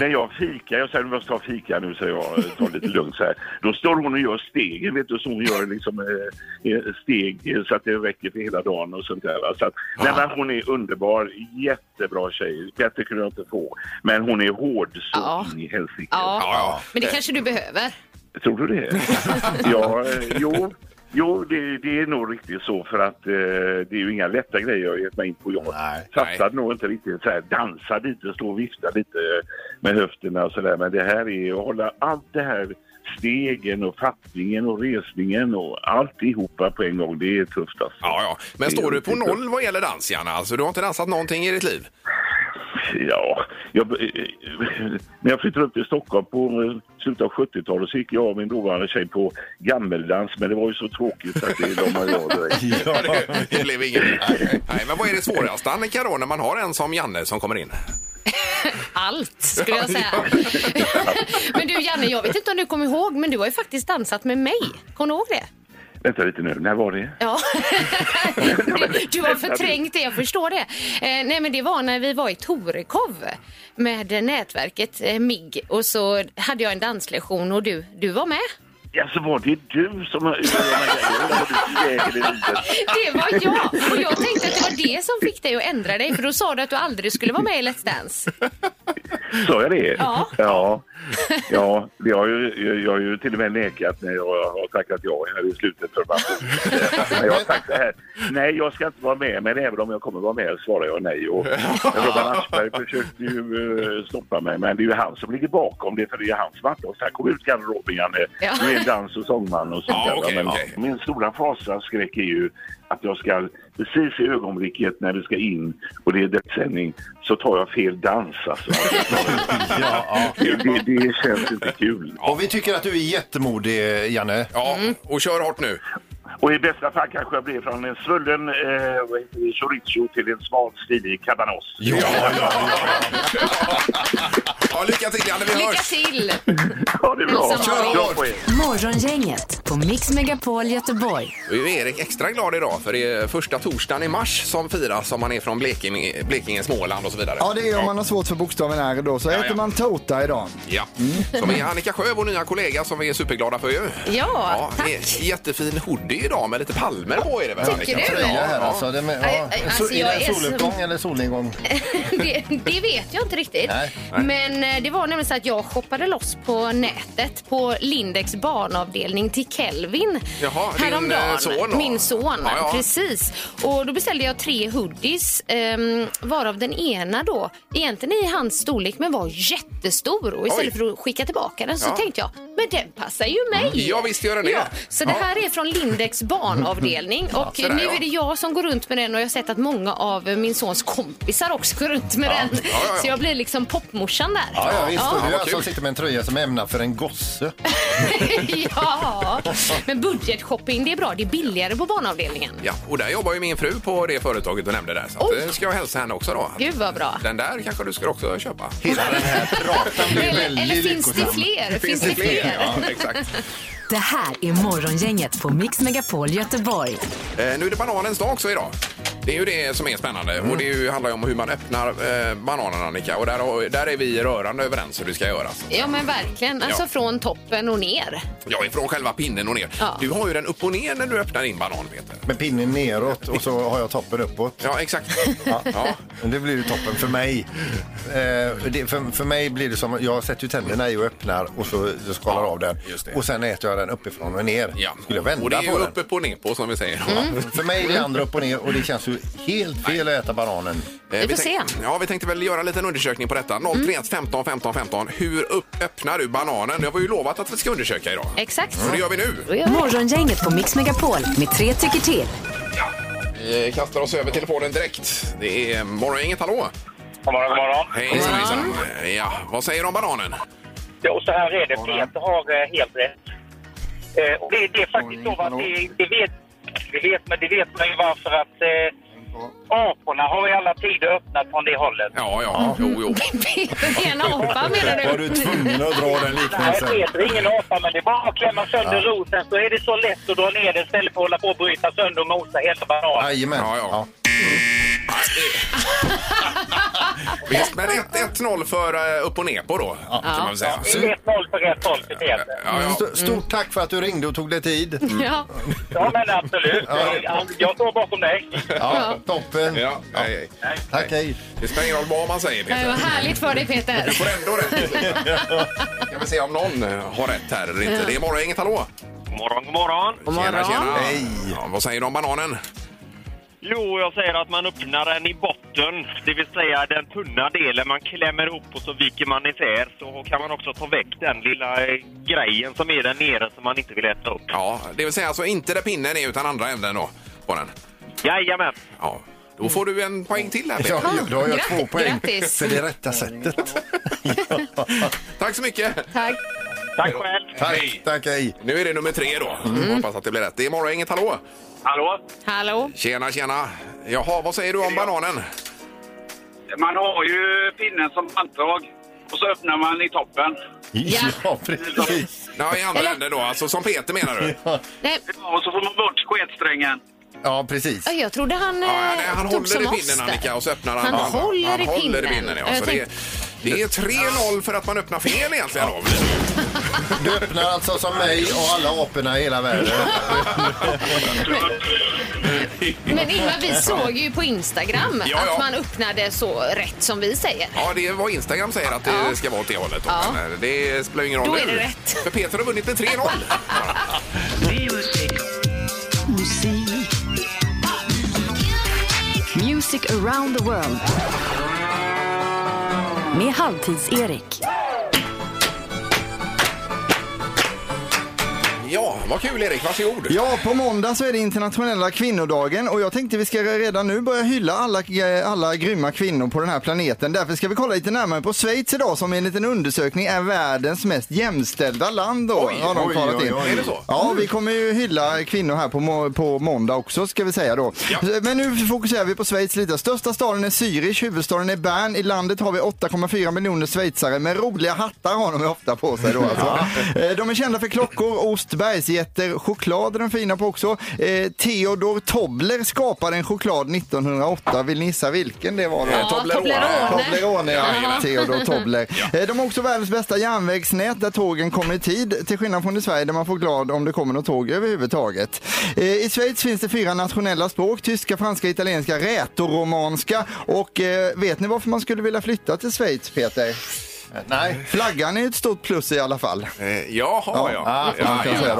Speaker 11: När jag fikar, jag säger du måste ta fika nu så jag tar lite lugnt så här. Då står hon och gör stegen, vet du, så hon gör liksom eh, eh, steg eh, så att det räcker för hela dagen och sånt där. va. Så att, nej, men hon är underbar, jättebra tjej. Bättre kunde jag inte få. Men hon är hård så
Speaker 5: Ja.
Speaker 11: in i helsike.
Speaker 5: Ja, men det kanske du behöver.
Speaker 11: Tror du det? ja, eh, jo. Jo, det, det är nog riktigt så för att eh, det är ju inga lätta grejer jag har gett mig in på. Jag satsade nog inte riktigt så här, dansa lite, stå och vifta lite med höfterna och sådär. Men det här är att hålla allt det här stegen och fattningen och resningen och alltihopa på en gång. Det är tufft alltså.
Speaker 4: Ja, ja. Men
Speaker 11: Det är
Speaker 4: står du på
Speaker 11: riktigt
Speaker 4: noll vad gäller dans, Janne? Alltså, du har inte dansat någonting i ditt liv?
Speaker 11: Ja, jag, när jag flyttade upp till Stockholm på eh, slutet av 70-talet så gick jag och min dåvarande tjej på gammeldans men det var ju så tråkigt så att det lommade jag direkt. <laughs>
Speaker 4: Det- det blev inget. Nej, nej, men vad är det svåraste, Annika, då, när man har en som Janne som kommer in?
Speaker 5: Allt, skulle jag säga. <laughs> Men du Janne, jag vet inte om du kommer ihåg, men du har ju faktiskt dansat med mig. Kommer du ihåg det?
Speaker 11: Vänta lite nu, när var det? <laughs>
Speaker 5: Ja. Du, du har förträngt det, jag förstår det. Eh, nej, men det var när vi var i Torekov med eh, nätverket eh, MIG och så hade jag en danslektion och du, du var med.
Speaker 11: Ja, så var det du som var ute med grejer? Vad du väger i livet?
Speaker 5: Det var jag! Och jag tänkte att det var det som fick dig att ändra dig för då sa du att du aldrig skulle vara med i Let's Dance.
Speaker 11: Sa jag det?
Speaker 5: Ja.
Speaker 11: Ja, ja det har ju, jag, jag har ju till och med nekat när jag har tackat ja här i slutet för
Speaker 5: <laughs>
Speaker 11: bandet. jag har sagt det här, nej jag ska inte vara med, men även om jag kommer vara med svarar jag nej. Och Robban Aschberg försökte ju eh, stoppa mig, men det är ju han som ligger bakom det, för det är han som har varit oss. här. Kom ut garderoben Janne,
Speaker 5: Ja.
Speaker 11: du är en dans och sångman och sånt
Speaker 4: Ja,
Speaker 11: där.
Speaker 4: okej,
Speaker 11: men,
Speaker 4: okej.
Speaker 11: Min stora fasaskräck är ju att jag ska, precis i ögonblicket när det ska in och det är direktsändning, så tar jag fel dans
Speaker 4: <laughs>
Speaker 11: alltså.
Speaker 6: Ja,
Speaker 11: Det, det, det känns inte kul.
Speaker 6: ja. Och vi tycker att du är jättemodig, Janne.
Speaker 4: Ja, och kör hårt nu.
Speaker 11: Och i bästa fall kanske jag blir från en svullen eh, vad heter det, chorizo till en smal stilig cabanos.
Speaker 4: Ja, ja, ja. <laughs> ja lycka till, Janne. Vi
Speaker 5: Lycka
Speaker 4: hörs.
Speaker 5: till!
Speaker 11: Ja, det är bra.
Speaker 5: Hälsa
Speaker 11: Bra på er.
Speaker 3: Morgongänget på Mix Megapol Göteborg.
Speaker 4: Då är ju Erik extra glad idag för det är första torsdagen i mars som firas om man är från Blekinge, Blekinge Småland och så vidare.
Speaker 7: Ja, det är om man har svårt för bokstaven R då. Så
Speaker 4: Ja,
Speaker 7: äter
Speaker 4: ja.
Speaker 7: man Tota idag.
Speaker 4: Ja, som är Annika Sjö, vår nya kollega som vi är superglada för ju.
Speaker 5: Mm. Ja,
Speaker 4: det är jättefin hoodie idag med lite palmer på är det väl?
Speaker 5: Tycker
Speaker 4: Annika?
Speaker 5: du?
Speaker 6: Det här
Speaker 4: Ja,
Speaker 6: alltså. Det med,
Speaker 5: Nej,
Speaker 6: ja.
Speaker 5: nej,
Speaker 6: Så-
Speaker 5: alltså,
Speaker 6: är
Speaker 5: jag
Speaker 6: det
Speaker 5: är
Speaker 6: en
Speaker 5: så-
Speaker 6: soluppgång eller solnedgång?
Speaker 5: <laughs> det, det vet jag inte riktigt.
Speaker 6: Nej.
Speaker 5: Men eh, det var nämligen så att jag shoppade loss på nätet på Lindex barnavdelning till Kelvin
Speaker 4: Jaha, din, eh, son då?
Speaker 5: Min son,
Speaker 4: Ja, ja.
Speaker 5: precis. Och då beställde jag tre hoodies ehm, varav den ena då egentligen i hans storlek men var jättestor och istället
Speaker 4: Oj.
Speaker 5: för att skicka tillbaka den så
Speaker 4: Ja.
Speaker 5: tänkte jag, men den passar ju mig.
Speaker 4: Ja, visst gör den det.
Speaker 5: Ja, så det här är från Lindex barnavdelning och
Speaker 4: så där,
Speaker 5: nu
Speaker 4: ja.
Speaker 5: är det jag som går runt med den och jag har sett att många av eh, min sons kompisar också går runt med den.
Speaker 4: ja, ja.
Speaker 5: Så jag blir liksom popmorsan där.
Speaker 6: Ja, ja, visst. Och Du
Speaker 4: vad
Speaker 6: är alltså
Speaker 4: kul.
Speaker 6: sitter med en tröja som är ämnad för en gosse.
Speaker 5: ja. <laughs> Men budgetshopping det är bra. Det är billigare på barnavdelningen.
Speaker 4: Ja, och där jobbar ju min fru på det företaget du nämnde där. Så att,
Speaker 5: Oj.
Speaker 4: eh, ska jag hälsa henne också då.
Speaker 5: Gud vad bra.
Speaker 4: Den där kanske du ska också köpa.
Speaker 6: Hela den här pratan blir
Speaker 5: Eller, eller
Speaker 6: väldigt
Speaker 5: finns det
Speaker 6: lyckosam.
Speaker 5: fler? Finns det
Speaker 4: fler?
Speaker 5: fler?
Speaker 4: Ja, exakt.
Speaker 3: Det här är Morgongänget på Mix Megapol Göteborg.
Speaker 4: Eh, nu är det bananens dag också idag. Det är ju det som är spännande och det är ju, handlar ju om hur man öppnar eh, bananen Annika och där, har- där är vi rörande överens hur det ska göras.
Speaker 5: Ja men verkligen. Alltså
Speaker 4: Ja.
Speaker 5: från toppen och ner.
Speaker 4: Ja, ifrån själva pinnen och ner.
Speaker 5: Ja.
Speaker 4: Du har ju den upp och ner när du öppnar din banan Peter.
Speaker 6: Med pinnen neråt och så har jag toppen uppåt.
Speaker 4: Ja, exakt.
Speaker 6: <laughs>
Speaker 4: ja.
Speaker 6: Men Det blir ju toppen för mig. Eh, det, för, för mig blir det som, jag sätter ju tänderna i och öppnar och så så skalar
Speaker 4: Ja,
Speaker 6: av den.
Speaker 4: just det.
Speaker 6: Och sen äter jag den uppifrån och ner.
Speaker 4: Ja.
Speaker 6: Skulle jag vända
Speaker 4: och det är ju
Speaker 6: på den?
Speaker 4: uppe på ner på som vi säger.
Speaker 6: För mig är det andra upp och ner och det känns ju helt fel att äta bananen.
Speaker 4: Eh,
Speaker 5: Vi får
Speaker 4: tänk-
Speaker 5: se.
Speaker 4: Ja, vi Mm. tänkte väl göra en liten undersökning på detta. 031 15 15 15. Hur upp, öppnar du bananen? Det var ju lovat att vi ska undersöka idag.
Speaker 5: Exakt.
Speaker 4: Så det gör vi nu.
Speaker 5: Då gör vi det. <laughs>
Speaker 3: Morgongänget på Mix Megapol med tre tycker till.
Speaker 4: Vi kastar oss över telefonen direkt. Det är Morgongänget, hallå!
Speaker 12: God morgon, god morgon.
Speaker 4: Hej, hejsan. Ja, vad säger du om bananen?
Speaker 12: Jo, så här är det. Peter har eh, helt rätt. Eh, och det, det är faktiskt så att det, det, vet, det, vet, men det vet man ju varför att eh, aporna har i alla tider öppnat från det hållet.
Speaker 4: Ja, ja. Mm. Jo, jo.
Speaker 5: Peter är en apa menar du?
Speaker 12: Var du
Speaker 5: <laughs>
Speaker 12: tvungen
Speaker 6: att dra den
Speaker 12: Nej, Peter är ingen apa, men det är bara att klämma sönder roten så är det så lätt att dra ner den istället för att hålla på och bryta sönder och mosa hela bananen.
Speaker 6: Jajamän.
Speaker 4: Ja, ja. Visst, men 1 1-0 för eh, upp och ner på då, kan man väl säga.
Speaker 12: Det är 1-0 för rätt håll för Peter.
Speaker 6: St- Stort tack för att du ringde och tog dig tid.
Speaker 12: Ja. ja, men absolut. Jag, jag står bakom dig.
Speaker 6: Ja, toppen.
Speaker 4: Ja, hej, hej.
Speaker 6: Tack, hej.
Speaker 4: Det spelar ingen roll vad man säger,
Speaker 5: Det
Speaker 4: Peter.
Speaker 5: var härligt för dig Peter.
Speaker 4: Kan vi se om någon eh, har rätt här eller inte.
Speaker 5: Ja.
Speaker 4: Det är morgon, inget hallå.
Speaker 12: morgon, god morgon.
Speaker 4: Tjena, tjena. Ja, vad säger du om bananen?
Speaker 12: Jo, jag säger att man öppnar den i botten, det vill säga den tunna delen man klämmer ihop och så viker man isär. Så kan man också ta väck den lilla eh, grejen som är där nere som man inte vill äta upp.
Speaker 4: Ja, det vill säga alltså inte där pinnen är utan andra änden då på den.
Speaker 12: Jajamän.
Speaker 4: Ja, då får du en poäng till här
Speaker 6: Ja,
Speaker 4: Peter.
Speaker 6: då har jag två
Speaker 5: Grattis,
Speaker 6: poäng
Speaker 5: grattis.
Speaker 6: för det rätta sättet.
Speaker 4: Tack så mycket.
Speaker 5: Tack.
Speaker 12: Tack själv.
Speaker 4: Tack,
Speaker 6: tack hej.
Speaker 4: Nu är det nummer tre då.
Speaker 6: Mm.
Speaker 4: Hoppas att det blir rätt. Det är morgon, inget hallå.
Speaker 12: Hallå?
Speaker 5: Hallå?
Speaker 4: Tjena, tjena. Jaha, vad säger du om bananen?
Speaker 13: Man har ju pinnen som handtag och så öppnar man i toppen.
Speaker 6: Ja, precis.
Speaker 4: Ja, i andra änden då, alltså som Peter menar du?
Speaker 5: Nej,
Speaker 13: Och så får man bort sketsträngen.
Speaker 6: Ja, precis.
Speaker 5: ja, jag trodde han, eh,
Speaker 4: Nej, han
Speaker 5: tog
Speaker 4: håller
Speaker 5: som
Speaker 4: i
Speaker 5: oss
Speaker 4: pinnen
Speaker 5: där.
Speaker 4: Annika och så öppnar han.
Speaker 5: Han
Speaker 4: andra.
Speaker 5: håller
Speaker 4: han
Speaker 5: i
Speaker 4: håller i
Speaker 5: pinnen.
Speaker 4: pinnen. Ja,
Speaker 5: Jag
Speaker 4: så det, är- det är 3-0 för att man öppnar fel egentligen. då.
Speaker 6: Du öppnar alltså som mig och alla aporna i hela världen.
Speaker 5: Men Ingmar, vi såg ju på Instagram
Speaker 4: Ja, ja.
Speaker 5: att man öppnade så rätt som vi säger.
Speaker 4: Ja, det var Instagram säger att det ska vara åt det hållet. då.
Speaker 5: Ja.
Speaker 4: Men eh, det spelar ingen roll
Speaker 5: Då är
Speaker 4: nu.
Speaker 5: det rätt.
Speaker 4: För Peter har vunnit med 3-0.
Speaker 3: Musik. Music around the world. Med Halvtids-Erik.
Speaker 4: Ja, vad kul Erik. Varsågod.
Speaker 7: Ja, på måndag så är det internationella kvinnodagen och jag tänkte vi ska redan nu börja hylla alla, eh, alla grymma kvinnor på den här planeten. Därför ska vi kolla lite närmare på Schweiz idag som enligt en undersökning är världens mest jämställda land. Då, har de
Speaker 6: oj,
Speaker 7: kollat
Speaker 6: oj,
Speaker 7: in.
Speaker 6: oj. Är det så?
Speaker 7: Ja, vi kommer ju hylla kvinnor här på, må- på måndag också ska vi säga då. Men nu fokuserar vi på Schweiz lite. Största staden är Zürich, huvudstaden är Bern. I landet har vi 8,4 miljoner schweizare med roliga hattar har de ju ofta på sig då alltså. Eh, De är kända för klockor, ost, bergsgetter, choklad är de fina på också. Eh, Theodor Tobler skapade en choklad 1908. Vill ni gissa vilken det var då?
Speaker 4: Ja, Eh, Toblerone. Toblerone.
Speaker 7: Toblerone, ja.
Speaker 4: Ja.
Speaker 7: Theodor Tobler. Eh, De har också världens bästa järnvägsnät där tågen kommer i tid, till skillnad från i Sverige där man får glad om det kommer något tåg överhuvudtaget. Eh, I Schweiz finns det fyra nationella språk, tyska, franska, italienska, rätoromanska och eh, vet ni varför man skulle vilja flytta till Schweiz, Peter?
Speaker 6: Nej.
Speaker 7: Flaggan är ju ett stort plus i alla fall.
Speaker 4: Eh, Jaha, ja.
Speaker 7: Ah, får man kan säga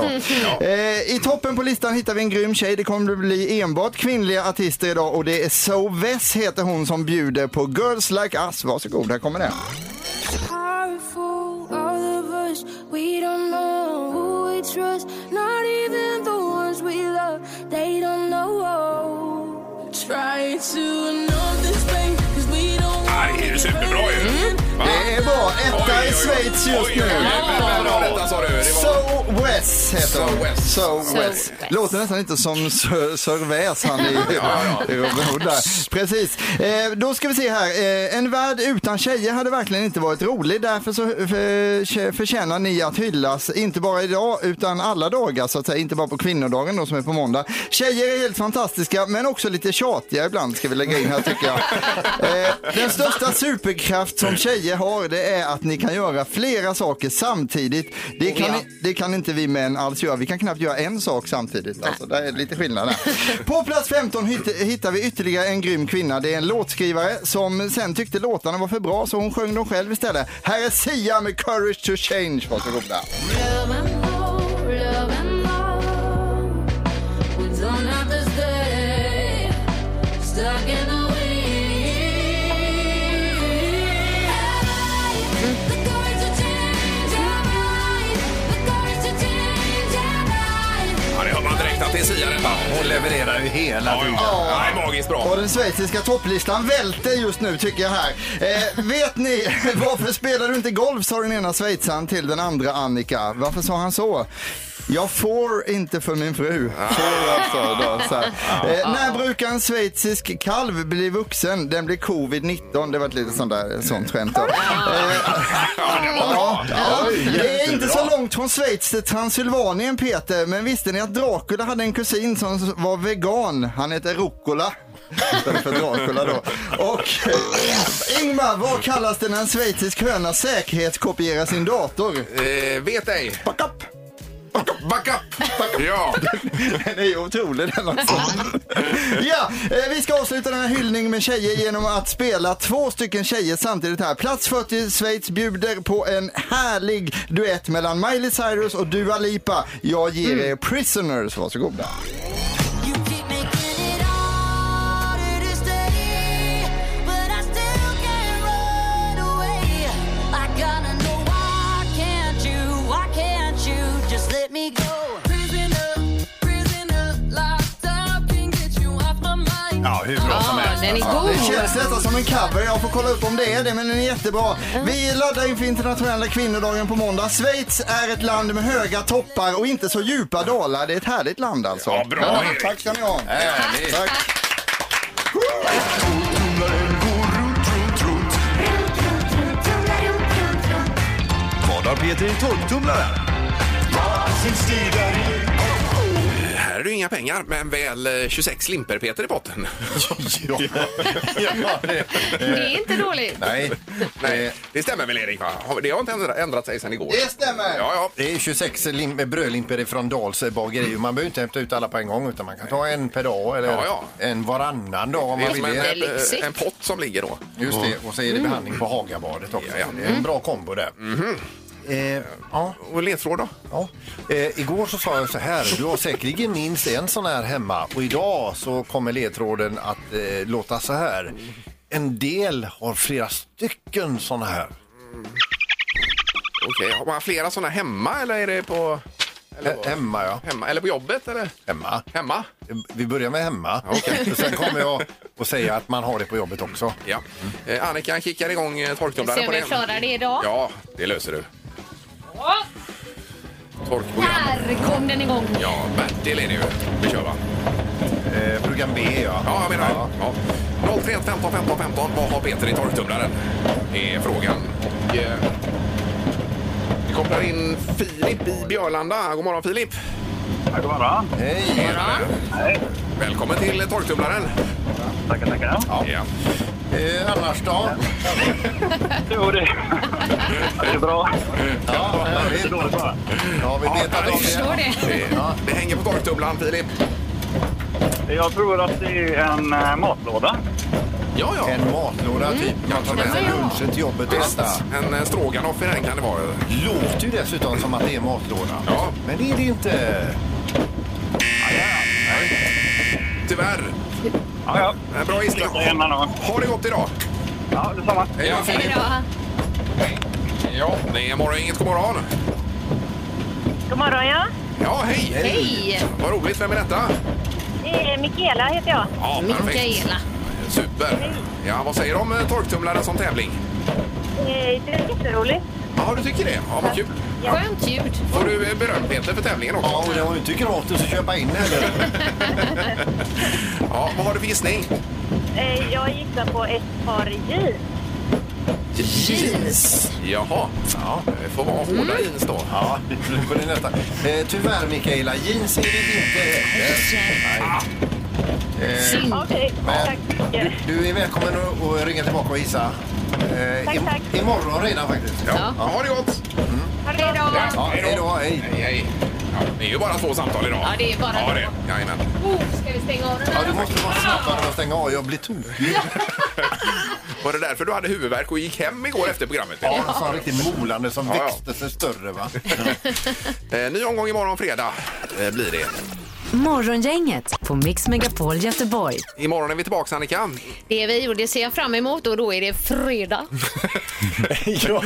Speaker 7: då. Eh, I toppen på listan hittar vi en grym tjej. Det kommer att bli enbart kvinnliga artister idag och det är So Vess heter hon som bjuder på Girls Like Us. Varsågod, här kommer den.
Speaker 14: Powerful, all of us, we don't know who we trust. Not even the ones we love, they don't know. Try to know this thing, 'cause we don't
Speaker 4: Ja, det är ju superbra ju. Va?
Speaker 7: Det är bra. Etta i Schweiz just
Speaker 4: Vem
Speaker 7: nu.
Speaker 4: var detta sa du? Det var...
Speaker 7: So West heter
Speaker 4: So
Speaker 7: hon.
Speaker 4: West.
Speaker 7: So
Speaker 4: So
Speaker 7: West.
Speaker 4: West.
Speaker 7: Låter nästan inte som Sir, Sir Väs, han i
Speaker 4: <laughs> Ja,
Speaker 7: i Robin Hood där. Precis. Eh, då ska vi se här. Eh, en värld utan tjejer hade verkligen inte varit rolig. Därför så eh, för, förtjänar ni att hyllas, inte bara idag utan alla dagar så att säga. Inte bara på kvinnodagen då som är på måndag. Tjejer är helt fantastiska men också lite tjatiga ibland ska vi lägga in här
Speaker 4: <laughs>
Speaker 7: tycker jag. Eh, den största superkraft som tjejer har det är att ni kan göra flera saker samtidigt. Det kan, ni, det kan inte vi män alls göra. Vi kan knappt göra en sak samtidigt. Alltså, där är lite skillnad där. På plats 15 hitt, hittar vi ytterligare en grym kvinna. Det är en låtskrivare som sen tyckte låtarna var för bra så hon sjöng dem själv istället. Här är Sia med Courage to Change. Varsågoda.
Speaker 14: love and hope, love and hope. We don't have to stay stuck in the wind. The courage to change our mind, the courage to change our mind.
Speaker 4: Ja, det hör man direkt att det är Lucia detta.
Speaker 6: Hon levererar ju hela tiden.
Speaker 4: Ja, det är magiskt bra.
Speaker 7: Och den schweiziska topplistan välter just nu tycker jag här. Eh, vet ni <laughs> varför spelar du inte golf sa den ena schweizaren till den andra Annika. Varför sa han så? Jag får inte för min fru. Får alltså då, så här. eh, när brukar en schweizisk kalv bli vuxen? Den blir covid-19. Det var ett litet sånt där sånt skämt. Då. Eh, Ja, ja, det är inte så långt från Schweiz till Transylvanien Peter, men visste ni att Dracula hade en kusin som var vegan? Han heter Rucola. Istället för Dracula då. Och eh, Ingmar, vad kallas det när en schweizisk höna säkerhetskopierar sin dator?
Speaker 4: Eh, vet ej.
Speaker 7: Backup!
Speaker 4: Backup! Ja.
Speaker 7: Den är ju otrolig den också. Ja, eh, vi ska avsluta den här hyllningen med tjejer genom att spela två stycken tjejer samtidigt här. Plats 40 Schweiz bjuder på en härlig duett mellan Miley Cyrus och Dua Lipa. Jag ger er Prisoners, varsågoda.
Speaker 6: Ja, hur bra som helst.
Speaker 5: den är
Speaker 6: alltså.
Speaker 5: god.
Speaker 7: Det känns detta som en cover. Jag får kolla upp om det är det, men den är jättebra. Vi laddar inför internationella kvinnodagen på måndag. Schweiz är ett land med höga toppar och inte så djupa dalar. Det är ett härligt land alltså. Ja,
Speaker 4: bra, Erik.
Speaker 7: Tack ska ni ha.
Speaker 4: Härligt.
Speaker 7: Tack.
Speaker 15: Vad har Peter i torktumlaren?
Speaker 4: Här är det ju inga pengar, men väl eh, 26 limper Peter i botten.
Speaker 6: ja.
Speaker 5: Det är inte dåligt.
Speaker 6: Nej.
Speaker 4: Nej, det stämmer väl Erik? va? Har- Det har inte ändrat- ändrat sig sedan igår.
Speaker 7: Det stämmer.
Speaker 4: Ja, ja.
Speaker 6: Det är 26 lim- brödlimpor från Dals bageri. Man behöver inte hämta ut alla på en gång utan man kan ta en per dag eller
Speaker 4: Ja, ja.
Speaker 6: en varannan dag om
Speaker 4: Det
Speaker 6: man
Speaker 4: är som
Speaker 6: vill.
Speaker 4: en,
Speaker 6: det.
Speaker 4: en, en pott som ligger då.
Speaker 6: Just det, och så är det behandling på Hagabadet också.
Speaker 4: Ja, Mm. ja.
Speaker 6: Det är en bra kombo där. Eh, ja.
Speaker 4: Och ledtråd då?
Speaker 6: Ja. Eh, igår så sa jag så här, du har säkerligen minst en sån här hemma och idag så kommer ledtråden att eh, låta så här. En del har flera stycken såna här.
Speaker 4: Okej, har man flera sådana hemma eller är det på... Eller,
Speaker 6: Eh, Hemma ja.
Speaker 4: hemma, eller på jobbet eller?
Speaker 6: Hemma. Eh,
Speaker 4: Hemma?
Speaker 6: Vi börjar med hemma. Och sen kommer jag att säga att man har det på jobbet också.
Speaker 4: Ja. Eh, Annika kickar igång eh,
Speaker 5: Vi
Speaker 4: torktumlaren
Speaker 5: ser
Speaker 4: på
Speaker 5: om vi
Speaker 4: den.
Speaker 5: klarar det idag.
Speaker 4: Ja, det löser du. Torkprogram.
Speaker 5: Här kom den igång.
Speaker 4: Ja, Bertil är det ju. Vi kör va?
Speaker 6: Eh, program B ja.
Speaker 4: Ja, jag menar det. ja. 031 15 15 15. Vad har Peter i torktumlaren? Det är frågan. Och, eh, vi kopplar in Filip i Björlanda. God morgon Filip!
Speaker 13: God morgon.
Speaker 6: Hej!
Speaker 4: Hej. Välkommen till eh, torktumlaren.
Speaker 13: Tackar, tackar.
Speaker 4: Ja.
Speaker 6: Eh, annars då?
Speaker 13: Jo, det... det är bra.
Speaker 6: Ja, härligt.
Speaker 13: dåligt bara.
Speaker 6: Ja, vi vet att
Speaker 4: Jag
Speaker 5: förstår det.
Speaker 4: Det,
Speaker 6: Ja.
Speaker 4: det hänger på torktumlaren Filip.
Speaker 13: Jag tror att det är en eh, matlåda.
Speaker 4: Ja, ja.
Speaker 6: En matlåda typ. Man tar med sig lunchen till jobbet och detta.
Speaker 4: En eh, stroganoff i den kan det vara.
Speaker 6: Låter ju dessutom som att det är matlåda.
Speaker 4: Ja.
Speaker 6: Men det är det inte.
Speaker 4: Tyvärr.
Speaker 13: Ja, ja.
Speaker 4: Men Eh, Bra gissning.
Speaker 13: Det är en annan.
Speaker 4: Ha det gott idag.
Speaker 13: Ja, detsamma.
Speaker 4: Hej då, Filip.
Speaker 5: Hej då.
Speaker 4: Ja, det är Morgongänget. God morgon.
Speaker 9: God morgon, ja.
Speaker 4: Ja, hej.
Speaker 5: Hej!
Speaker 4: Vad roligt. Vem är detta?
Speaker 9: Det är Mikaela heter jag.
Speaker 4: Ja, perfekt.
Speaker 5: Mikaela.
Speaker 4: Super. Ja, vad säger du om eh, torktumlaren som tävling?
Speaker 9: Eh, Det är jätteroligt.
Speaker 4: Ja, du tycker det? Ja, vad kul.
Speaker 5: Skönt ljud.
Speaker 4: Får du eh, beröm, Peter, för tävlingen också?
Speaker 6: Ja, och det var ju inte gratis att köpa in heller.
Speaker 4: Ja, vad har du för gissning?
Speaker 9: Eh, Jag gissar på ett par jeans.
Speaker 4: Jeans. Jaha. Ja, det får vara hårda jeans
Speaker 9: Mm.
Speaker 4: då.
Speaker 6: Ja, nu får ni nästan. Eh, tyvärr Mikaela, jeans är det inte heller. Nej. Eh,
Speaker 5: Synd.
Speaker 9: Okej,
Speaker 6: Men-
Speaker 9: tack så mycket.
Speaker 6: du är välkommen att- att ringa tillbaka och gissa. Eh,
Speaker 9: Tack,
Speaker 6: im-
Speaker 9: tack.
Speaker 6: Imorgon redan faktiskt.
Speaker 4: Ja. Ja, ha det gott.
Speaker 9: Ha det bra.
Speaker 6: Ja, hej då, hej.
Speaker 4: Hej, hej. Ja, det är ju bara två samtal idag.
Speaker 5: Ja, det är bara
Speaker 4: ja,
Speaker 5: två.
Speaker 4: det. Jajamän.
Speaker 5: <laughs> Oh, ska vi stänga av den
Speaker 6: Ja,
Speaker 5: här?
Speaker 6: du måste vara snabbare med att stänga av. Jag blir tokig.
Speaker 4: Var det därför du hade huvudvärk och gick hem igår efter programmet?
Speaker 6: Ja, en sån riktig molande som
Speaker 4: Ja, ja. <laughs>
Speaker 6: växte sig större va.
Speaker 4: Eh, ny omgång imorgon fredag eh, blir det.
Speaker 3: Morgongänget på Mix Megapol Göteborg.
Speaker 4: Imorgon är vi tillbaka Annika.
Speaker 5: Det är vi och det ser jag fram emot och då är
Speaker 4: <laughs>
Speaker 5: det fredag.
Speaker 6: ja, <laughs>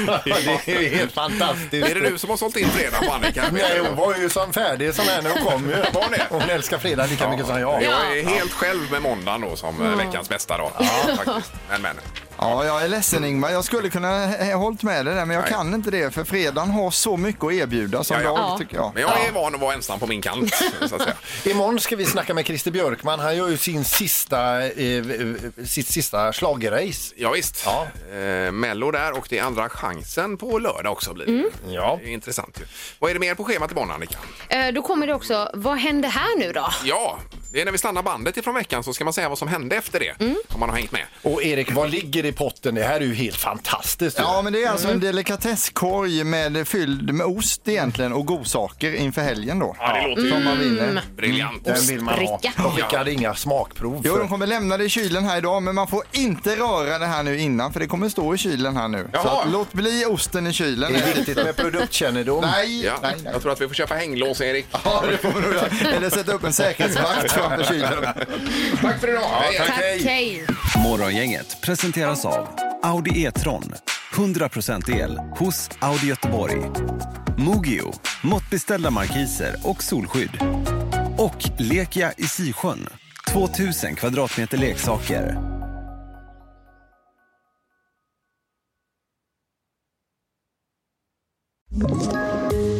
Speaker 6: det är helt fantastiskt.
Speaker 4: Är det du som har sålt in fredag på Annika?
Speaker 6: <laughs> Nej, hon var ju som färdig som här när hon kom ju.
Speaker 4: Var det?
Speaker 6: Hon älskar fredag lika mycket som jag.
Speaker 4: Jag är helt själv med måndagen då som eh,
Speaker 7: Ja.
Speaker 4: veckans bästa dag. <laughs> faktiskt. Men, men.
Speaker 7: Ja, jag är ledsen Ingmar. Jag skulle kunna ha hållit med dig där, men jag kan inte det. För fredagen har så mycket att erbjuda som
Speaker 4: Ja, ja.
Speaker 7: dag, tycker jag.
Speaker 4: Men jag är van att vara ensam på min
Speaker 6: <laughs>
Speaker 4: kant. Så att säga.
Speaker 6: Imorgon ska vi snacka med Christer Björkman. Han gör ju sin sista, eh, eh, sitt sista schlagerrace.
Speaker 4: Ja, visst. Eh, Mello där och det är andra chansen på lördag också blir det.
Speaker 6: Ja.
Speaker 4: Det är intressant ju. Vad är det mer på schemat imorgon Annika?
Speaker 5: Eh, Då kommer det också, vad händer här nu då?
Speaker 4: Ja, det är när vi stannar bandet ifrån veckan så ska man säga vad som hände efter det. Om man har hängt med.
Speaker 6: Och Erik, vad ligger i potten? Det här är ju helt fantastiskt. ju.
Speaker 7: Ja, men det är alltså en
Speaker 4: Mm.
Speaker 7: delikatesskorg med, fylld med ost egentligen och godsaker inför helgen då. Som man vinner.
Speaker 4: Briljant.
Speaker 6: Mm. Den vill man ha.
Speaker 7: Ostbricka.
Speaker 6: De skickade inga smakprov.
Speaker 7: Jo,
Speaker 6: för.
Speaker 7: de kommer lämna det i kylen här idag, men man får inte röra det här nu innan, för det kommer stå i kylen här nu. Så
Speaker 4: Jaha.
Speaker 7: att, låt bli osten i kylen.
Speaker 6: Det är viktigt med produktkännedom.
Speaker 7: Nej,
Speaker 4: Ja,
Speaker 7: nej, nej.
Speaker 4: Jag tror att vi får köpa hänglås, Erik.
Speaker 7: Eller sätta upp en säkerhetsvakt framför kylen.
Speaker 4: Tack för idag. Hej, hej.
Speaker 5: hej.
Speaker 15: Morgongänget presenteras av Audi E-tron. 100% el hos Audi Göteborg. Mogio, måttbeställda markiser och solskydd. Och Lekia i Sisjön, 2000 kvadratmeter leksaker.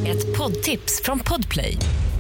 Speaker 16: Ett poddtips från Podplay.